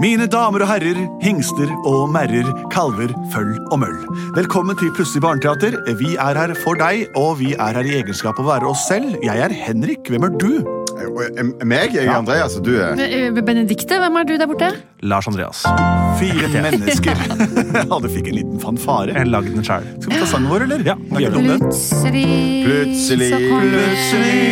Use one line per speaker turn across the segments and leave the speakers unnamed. Mine damer og herrer, hingster og merrer, kalver, føll og møll. Velkommen til Plutselig barneteater. Vi er her for deg, og vi er her i egenskap av å være oss selv. Jeg er Henrik. Hvem er du?
Eh, Meg? Jeg er Andreas, og du er
Eh, Benedikte, hvem er du der borte?
Lars Andreas.
Fire mennesker. ja, du fikk en liten fanfare.
Jeg lagde den sjæl.
Skal vi ta sangen vår, eller?
Ja, vi gjør det.
Plutselig
Plutselig.
så kommer-
Plutselig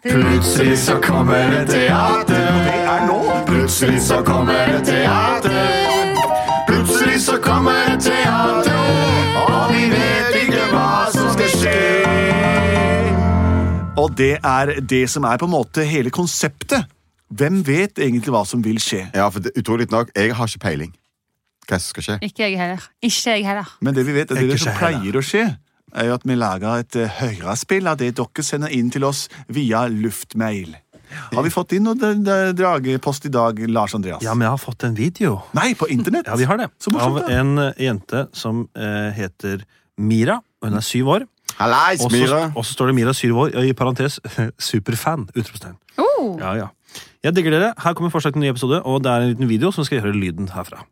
Plutselig så kommer det teater.
Det er nå.
Plutselig så kommer det teater. Plutselig så kommer det teater. Og vi vet ikke hva som skal skje.
Og det er det som er på en måte hele konseptet. Hvem vet egentlig hva som vil skje?
Ja, for det, utrolig nok, jeg har ikke peiling. Hva som skal skje?
Ikke jeg heller. Ikke jeg heller.
Men det vi vet, er det,
Ikke
som
skje
pleier å skje, er jo at vi lager et eh, høyrespill av det dere sender inn til oss via luftmail. Har vi fått inn noe d- d- dragepost i dag, Lars Andreas?
Ja, men jeg har fått en video.
Nei, på internett?
Ja, vi har det.
Så morsomt,
Av
da.
en eh, jente som eh, heter Mira. og Hun er syv år.
Hallais,
Og så
Myhre.
og så står det Mira syv år, i parentes superfan. utropstegn.
Oh,
Ja, ja. Jeg digger dere. Her kommer forslag til en ny episode, og det er en liten video som skal gjøre lyden herfra.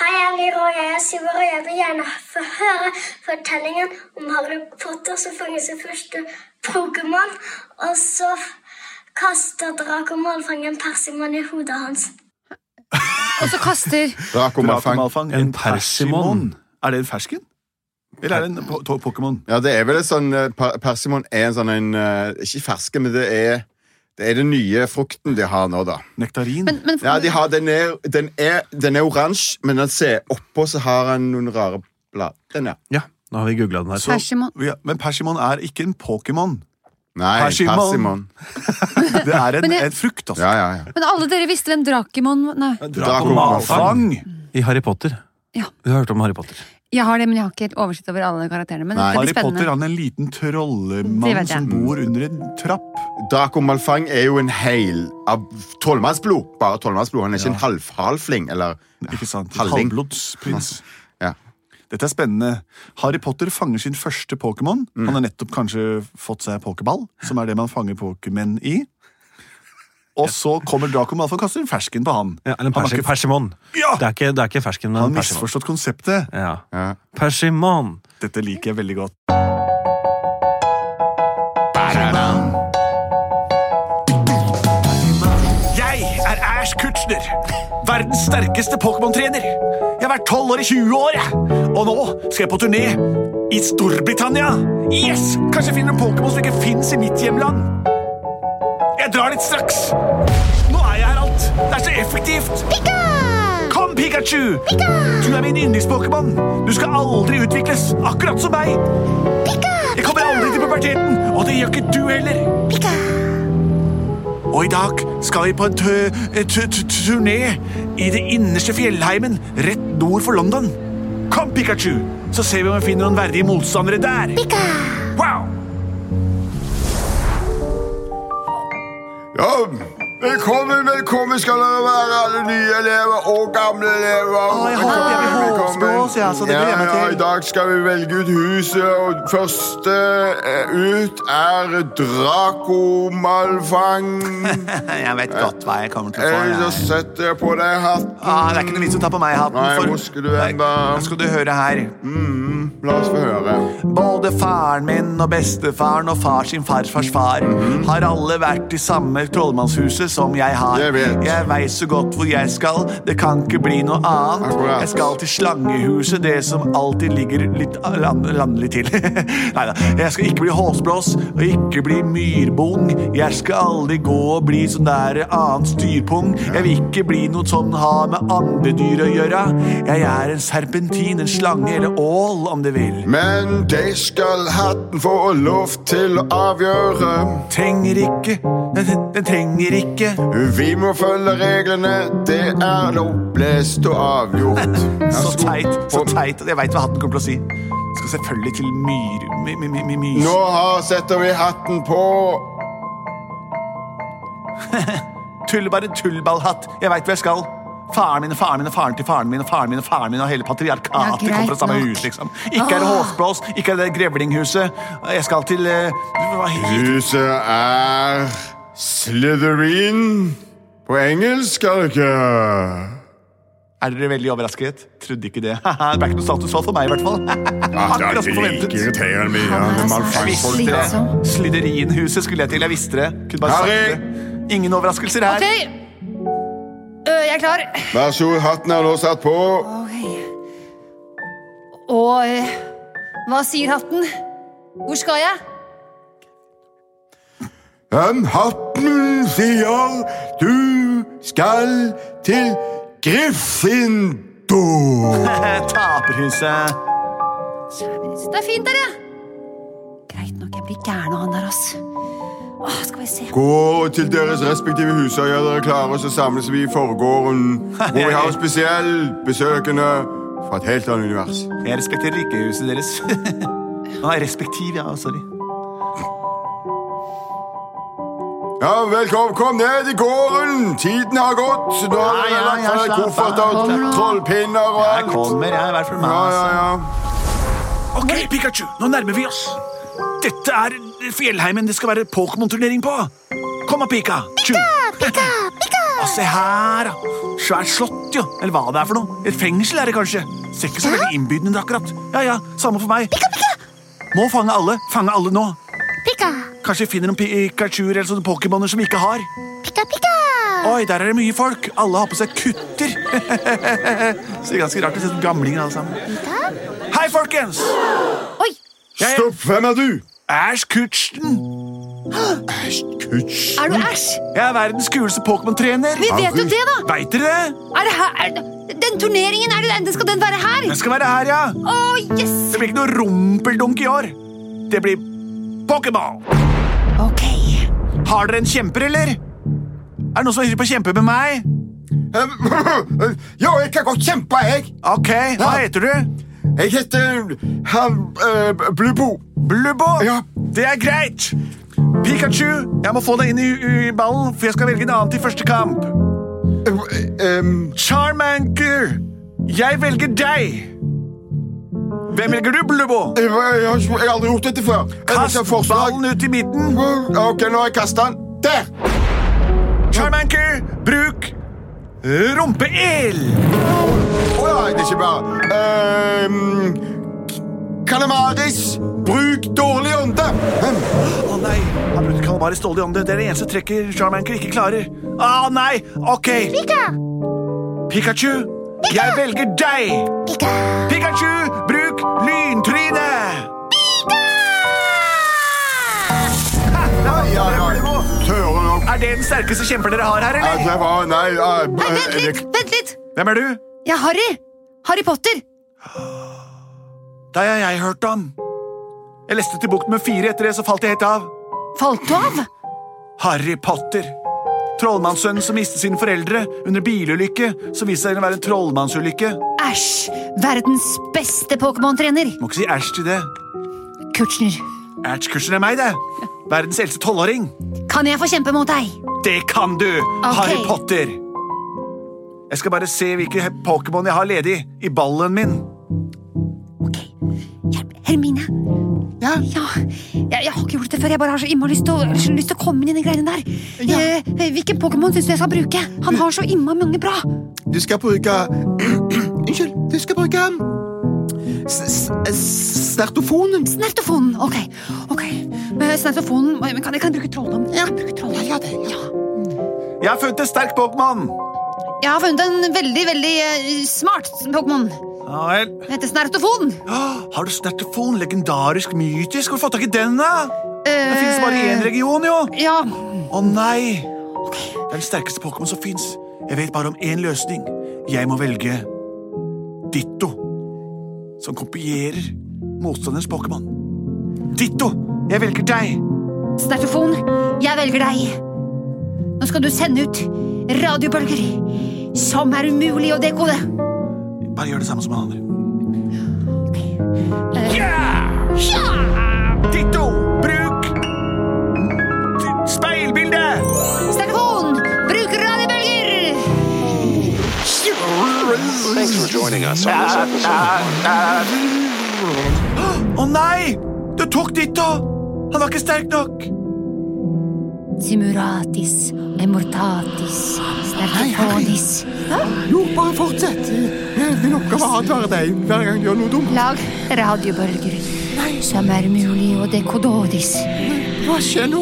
Hei, jeg er Lyra, og jeg er syv år, og jeg vil gjerne få høre fortellingen om Harry Potter som fanget sin første Pokémon, og så kaster Dracomal fangen Persimon i hodet hans.
og så kaster
Draco
Draken
Malfang.
Malfang,
En persimon.
Er det en fersken? Eller er det en po- to- Pokémon?
Ja, det er vel et sånn eh, per- Persimon er en sånn en eh, Ikke ferske, men det er det er den nye frukten de har nå, da.
Nektarin?
Men, men
Ja, de har, den, er, den, er, den er oransje, men den ser oppå så har han noen rare blad. Den er.
Ja, nå har vi googla den her.
Så-
Persimon.
Ja, men persimon er ikke en Pokémon.
Nei,
Persimon.
Persimon.
Det er en,
Men jeg-
en frukt, altså.
Ja, ja, ja.
men alle dere visste hvem Drakemon Nei.
Draco Malfang.
I Harry Potter.
Ja.
Vi har hørt om Harry Potter.
Jeg har det, men jeg har ikke helt oversikt over alle karakterene. Men
Nei.
det
Harry
blir spennende.
Potter han er en liten
Det
trollemann
vet jeg.
som bor under en trapp.
Draco Malfang er jo en hel av tolvmannsblod. Bare tolvmannsblod. Han er ikke en halv, halfling, eller
Ikke sant?
Halvling.
Halvblodsprins.
ja.
Dette er spennende. Harry Potter fanger sin første Pokémon.
Mm.
Han har nettopp kanskje fått seg pokerball, som er det man fanger Pokémon i. Og så kommer Draco Malfoy og kaster en fersken på han.
Ja, eller en
han,
persi
har ikke,
persimon.
Ja!
Det, er ikke, det er ikke fersken, men
han har
persimon.
misforstått konseptet.
Ja.
ja.
Persimon.
Dette liker jeg veldig godt. Jeg er Ash Kutchner, verdens sterkeste Pokémon-trener. Jeg har vært 12 år i 20 år, jeg. og nå skal jeg på turné i Storbritannia. Yes! Kanskje jeg finner en Pokémon som ikke fins i mitt hjemland. Jeg drar dit straks. Nå er jeg her alt. Det er så effektivt. Kom, Pikachu! Du er min yndlings-Pokémon. Du skal aldri utvikles, akkurat som meg. Jeg kommer aldri til puberteten, og det gjør ikke du heller. Og i dag skal vi på en tu- tu- tu- turné i det innerste fjellheimen rett nord for London. Kom, Pikachu, så ser vi om vi finner noen verdige motstandere der. Wow!
Ja, velkommen, velkommen skal dere være, alle nye elever og gamle elever.
Å, jeg håper jeg blir
Velkommen,
håpsblås, jeg, altså, det
ja,
gleder jeg meg
ja,
til.
I dag skal vi velge ut huset, og første eh, ut er Draco Malfang.
Jeg vet godt hva jeg kommer til
Eh, Så setter jeg på deg hatten.
Ah, det er ikke noe vits å ta på meg hatten.
Nei, hvor skal du hen, da?
Nå skal du høre her.
La oss få høre.
Både faren min og bestefaren og far sin farfars far
Mhm.
har alle vært i samme trollmannshuset som jeg har.
Jeg vet.
Jeg veit så godt hvor jeg skal, det kan ikke bli noe annet.
Akkurat.
Jeg skal til slangehuset, det som alltid ligger litt ah, land, landlig til. Nei da. Jeg skal ikke bli håsblås og ikke bli myrbong. Jeg skal aldri gå og bli sånn der annen styrpung. Jeg vil ikke bli noe sånn har med andre dyr å gjøre. Jeg er en serpentin, en slange eller ål, om du vil.
Men de skal hatten få lov til å avgjøre.
trenger ikke den, den trenger ikke
Vi må følge reglene, det er opplest og avgjort.
Så teit, så
Og-
teit Jeg veit hva hatten kommer til å si. Skal selvfølgelig til myr... My, my, my, my, mys-
Nå har setter vi hatten på.
Tull, bare tullballhatt. Jeg veit hvor jeg skal. Faren min, faren min, faren til faren min, faren min og faren min og hele patriarkatet
Ja, greit
kommer fra samme
nok.
hus, liksom. Ikke er det Håsblås, ikke er det Grevlinghuset. Jeg skal til eh, Hva heter
Huset er Slytherin. På engelsk, er det ikke?
Er dere veldig overrasket? Trodde ikke det. det er ikke noe status quo for meg, i hvert fall. Akkurat som forventet.
irriterende mye.
Han er
ja,
så
malfangsfolk,
Visste
ja.
det. Sliderinhuset skulle jeg til. Jeg visste det. Kunne bare
Harry!
sagt det. Ingen overraskelser her.
Ok! Ø, jeg er klar.
Vær så god, hatten er nå satt på.
Ok. Og ø, hva sier hatten? Hvor skal jeg?
Den hatten sier du skal til Gryffindor.
Taperhuset.
Det er fint der, ja. Greit nok, jeg blir gæren av han der, ass. Åh, skal vi se.
Gå til deres respektive hus og gjør dere klare, og så samles vi i forgården, hvor vi har spesielt besøkende fra et helt annet univers.
Jeg respekterer ikke huset deres. ah, respektiv, ja. Sorry.
Ja, velkommen, kom ned i gården! Tiden har gått, så da har
Ja, ja,
dere
ja,
lagt fra dere
slapp
koffert
av.
og
Kom nå.
trollpinner og
Jeg
alt.
kommer, jeg. Vær for meg.
Ja,
altså.
ja, ja.
Ok, Pikachu, nå nærmer vi oss. Dette er fjellheimen det skal være Pokémon-turnering på. Kom da, Pika. Pika, Pika, Pika. Og se her, da. Svært slott, jo. Eller hva det er for noe. Et fengsel er det kanskje. Ser ikke så veldig innbydende ut akkurat. Ja, ja, samme for meg. Pika, Pika. Må fange alle. Fange alle nå.
Pika,
Kanskje vi finner noen Pikachuer eller sånne Pokémoner som vi ikke har.
pika, pika.
Oi, der er det mye folk. Alle har på seg kutter. Ser ganske rart ut. ser ut som Gamlinger, alle sammen. Hei, folkens!
Oi!
Jeg er
Stopp, hvem er du?
Ash Kutchen.
Kutsch.
Er du æsj?
Jeg er verdens kuleste Pokémon-trener.
Vi vet jo det, da!
Veit dere det?
Er det her? Er det, den turneringen, er det den? Skal den være her?
Den skal være her, ja.
Å, yes!
Det blir ikke noe rumpeldunk i år. Det blir Pokémon.
Ok.
Har dere en kjemper, eller? Er det noen som er hypp på å kjempe med meg? altså.
Jo, jeg kan godt kjempe, jeg.
Ok, hva heter du?
Jeg heter han eh, Blubo.
Blubbo?
Ja.
Det er greit. Pikachu, jeg må få deg inn i, i ballen, for jeg skal velge en annen til første kamp.
Eh, em,
Charmanker, jeg velger deg. Hvem velger du, Blubbo?
Jeg har, eh, jeg har aldri gjort dette før. Jeg har
Kast
ikke forslag.
ballen ut i midten.
Ok, nå har jeg kastet den. Der!
Charmanker, bruk rumpeild.
Å ja, det er ikke bare Ehm, k- Kalamaris, bruk dårlig ånde. Hm,
Å nei, han brukte kalamaris dårlig ånde. Det er det eneste trekket Charmanker ikke klarer. Å nei, ok.
Pika,
Pikachu, jeg velger deg.
pika.
Pikachu, bruk lyntryne.
Ja, ja, ja. Søren òg.
Er det den sterkeste kjemper dere har her,
Ja,
eller?
det var Nei. ja,
Nei, vent
eh,
litt! Vent litt!
Hvem er du?
Jeg er Harry! Harry Potter!
Da har jeg hørt om. Jeg leste til bukt med fire etter det, så falt jeg helt av.
Falt du av?
Harry Potter. Trollmannssønnen som mistet sine foreldre under bilulykke, som viste seg å være en trollmannsulykke.
Æsj! Verdens beste Pokémon-trener!
Må ikke si æsj til det.
Kutchner,
Æsj-kursen er meg, det. Verdens eldste tolvåring.
kan jeg få kjempe mot deg?
Det kan du, Harry Potter. Jeg skal bare se hvilke Pokémon jeg har ledig i ballen min.
Ok. Hjelp. Hermine!
Ja?
Ja, jeg, jeg har ikke gjort det før. Jeg bare har så innmari lyst til å, så lyst til å komme inn i de greiene der. Eh, hvilken Pokémon syns du jeg skal bruke? Han har så innmari mange bra.
Du skal bruke Unnskyld. Du skal bruke Snertofonen.
Snertofonen. Ok. ok. Med Snertofonen men kan, jeg- kan jeg bruke trolldom? Ja, bruke trolldom. Ja,
Jeg har funnet en sterk Pokémon.
Jeg har funnet en veldig, veldig eh, smart Pokémon.
Ja vel.
Den heter Snertofon.
Åh, Har du snertefon? Legendarisk, mytisk. Hvor fått tak i den, da? Det finnes bare i én region, jo.
Eh, Ja.
Å nei! Det er den sterkeste Pokémon som fins. Jeg vet bare om én løsning. Jeg må velge Ditto. Som kopierer motstanderens Pokémon. Ditto, jeg velger deg.
Snertofon, jeg velger deg. Nå skal du sende ut radiobølger som er umulig å dekode.
Bare gjør det samme som han andre.
Eh,
Ditto, bruk d- speilbilde!
Snertofon, bruk radiobølger!
Thanks for joining us on this episode.
Å nei! Du tok Ditto! Han var ikke sterk nok.
Simuratis, emortatis, stertifonis.
Jo, bare fortsett. Min oppgave er å advare deg hver gang du gjør noe dumt.
Lag radiobølger som er mulig å dekodoris.
Hva skjer nå?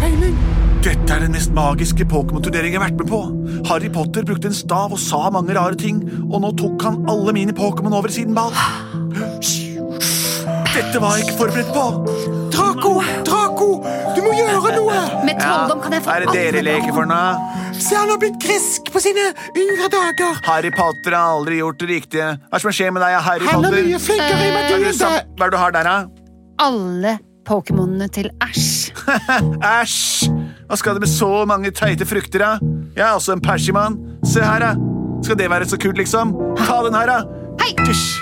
Peiling.
Dette er den mest magiske Pokémon-turneringen jeg har vært med på. Harry Potter brukte en stav og sa mange rare ting, og nå tok han alle mine Pokémon over siden ball. Dette var jeg ikke forberedt på.
Draco! Draco! Du må gjøre noe!
Med trolldom kan jeg få
Er det dere leker for nå?
Se, han har blitt grisk på sine yngre dager.
Harry Potter har aldri gjort det riktige. Hva er det som skjer med deg, Harry
Han er mye
Potter?
flinkere i
Hva er
magien
det som-
deg.
Hva er det du har der, da?
Eh, alle Pokémonene til æsj.
Æsj! Hva skal det med så mange teite frukter, da? Jeg er også en persimann. Se her, da. Skal det være så kult, liksom? Ta den her, da.
Hei!
Tysj!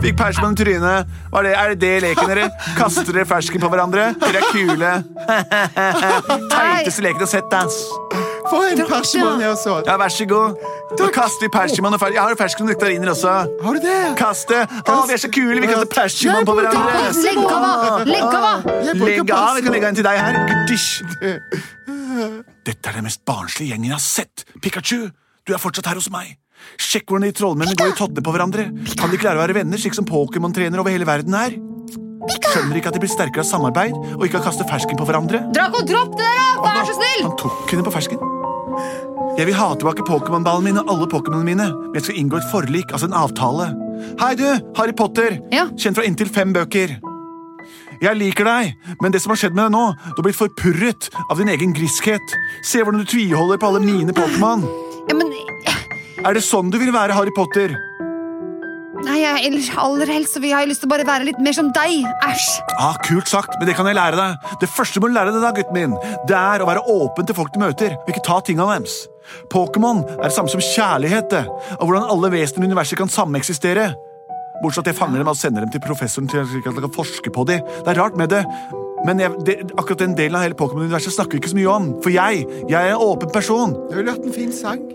Fikk persimann i trynet. Var det, er det det leken dere? Kaster dere fersken på hverandre? Dere er kule. Teiteste leken jeg har sett, ass.
For en persimann jeg også.
Ja, vær så god. Nå kaster vi persimann og fersken. Jeg har jo fersken og nektariner også.
Har du det?
Kaste. Å, vi er så kule. Vi kaster persimann på hverandre.
Legg av! da. Legg av! da.
Jeg bruker
Legg av, jeg
persimann.
kan legge en til deg her. Dysj. Dette er den mest barnslige gjengen jeg har sett. Pikachu, du er fortsatt her hos meg. Sjekk hvordan de trollmennene går i tottene på hverandre. Kan de klare å være venner, slik som Pokémon-trener over hele verden er? Skjønner ikke at de blir sterkere av samarbeid og ikke av å kaste fersken på hverandre?
Draco, dropp det der, da! Vær så snill!
Han tok henne på fersken. Jeg vil ha tilbake Pokémon-ballen min og alle Pokémonene mine, men jeg skal inngå et forlik, altså en avtale. Hei du, Harry Potter,
Ja.
kjent fra inntil fem bøker. Jeg liker deg, men det som har skjedd med deg nå, du har blitt forpurret av din egen griskhet. Se hvordan du tviholder på alle mine Pokémon.
Ja, men eh,
Er det sånn du vil være, Harry Potter?
Nei, jeg, ellers, aller helst så vil jeg lyst til å bare være litt mer som deg. Æsj.
Ah, Kult sagt, men det kan jeg lære deg. Det første må du lære deg, da, gutten min, det er å være åpen til folk du møter, og ikke ta tingene deres. Pokémon er det samme som kjærlighet, det, og hvordan alle vesener i universet kan sameksistere. Bortsett fra at jeg fanger dem og sender dem til professoren til slik at han kan forske på dem. Det er rart med det, men jeg, det, akkurat den delen av hele Pokémon-universet snakker vi ikke så mye om, for jeg, jeg er en åpen person.
Jeg ville hørt en fin sang.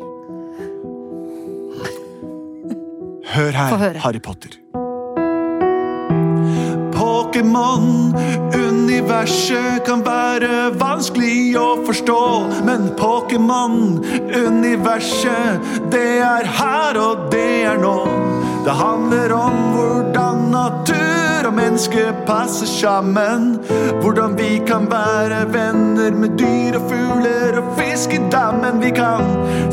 Hør
Få
her,
høre.
Harry Potter. Pokémon, universet kan være vanskelig å forstå. Men Pokémon, universet, det er her og det er nå. Det handler om hvordan natur og menneske passer sammen. Hvordan vi kan være venner med dyr og fugler og fisk i dammen. Vi kan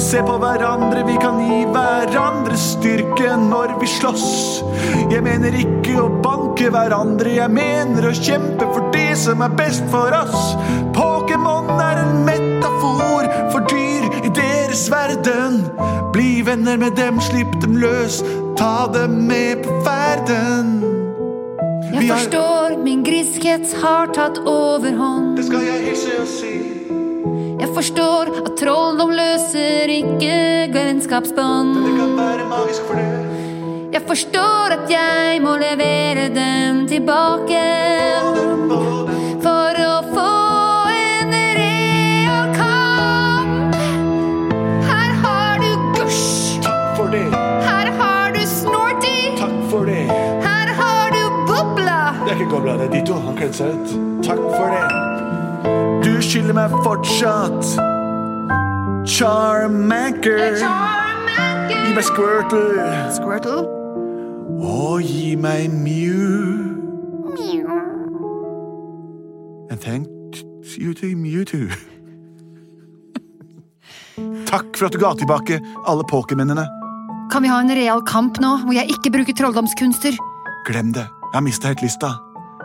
se på hverandre, vi kan gi hverandre styrke når vi slåss. Jeg mener ikke å banke hverandre, jeg mener å kjempe for det som er best for oss. Pokémon er en metafor for dyr i deres verden. Bli venner med dem, slipp dem løs, ta dem med på ferden.
Jeg
Vi er-
forstår min griskhet har tatt overhånd.
Det skal jeg hilse og si.
Jeg forstår at trolldom løser ikke vennskapsbånd.
Det kan være magisk for det.
Jeg forstår at jeg må levere dem tilbake. For å få en real kamp. Her har du Gush.
For det,
Her har du Snorty.
takk for det.
Her har du Bobla.
Det er ikke Gobla, det er de to. Han kledde seg ut. Takk for det. Du skylder meg fortsatt. Charmander. Gi meg Squirtle.
Squirtle.
Og gi meg Mew. And thank you to Mewtwo. Takk for at du ga tilbake alle pokémennene.
Kan vi ha en real kamp nå, hvor jeg ikke bruker trolldomskunster?
Glem det. Jeg har mista helt lista.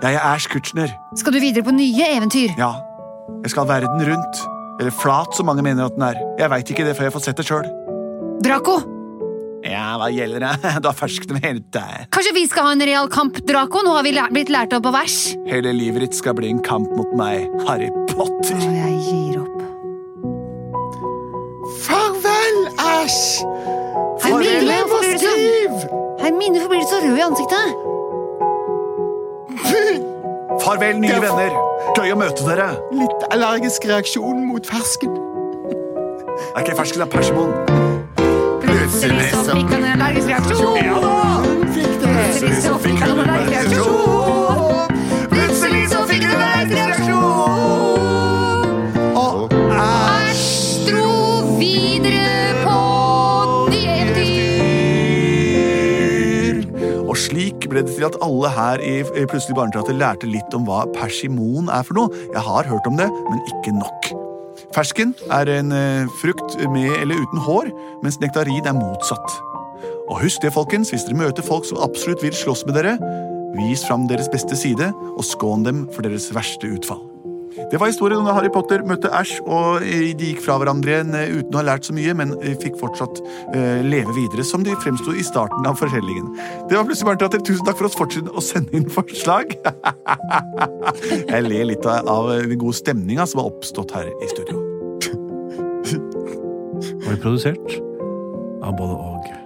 Jeg er Ash Kutchner.
Skal du videre på nye eventyr?
Ja, jeg skal verden rundt. Eller flat, som mange mener at den er. Jeg veit ikke det før jeg får sett det sjøl.
Draco,
Ja, hva gjelder det? Du har ferskt med hele deg.
kanskje vi skal ha en real kamp, Draco? Nå har vi læ- blitt lært opp på vers.
Hele livet ditt skal bli en kamp mot meg, Harry Potter.
Og jeg gir opp.
Farvel, Æsj!
Hermine,
Lev
hvorfor
og
blir du så,
stiv!
Hermine, hvorfor blir du så rød i ansiktet?
Farvel, nye venner. Gøy å møte dere.
Litt allergisk reaksjon mot fersken.
Det er ikke fersken, det er persimon.
Plutselig så fikk han en allergisk reaksjon. Plutselig så fikk han en allergisk reaksjon. Plutselig så fikk han en allergisk reaksjon. Æsj dro videre på dyr.
Og slik ble det til at alle her i i Plutselig barneteater lærte litt om hva persimon er for noe. Jeg har hørt om det, men ikke nok. Fersken er en eh, frukt med eller uten hår, mens nektarin er motsatt. Og husk det, folkens, hvis dere møter folk som absolutt vil slåss med dere, vis fram deres beste side og skån dem for deres verste utfall. Det var historien om da Harry Potter møtte Ash, og eh, de gikk fra hverandre igjen eh, uten å ha lært så mye, men eh, fikk fortsatt eh, leve videre som de fremsto i starten av fortellingen. Det var plutselig Barneteater. Tusen takk for oss. Fortsett å sende inn forslag. Jeg ler litt av, av den gode stemninga som har oppstått her i studio.
Og vi er produsert av både og.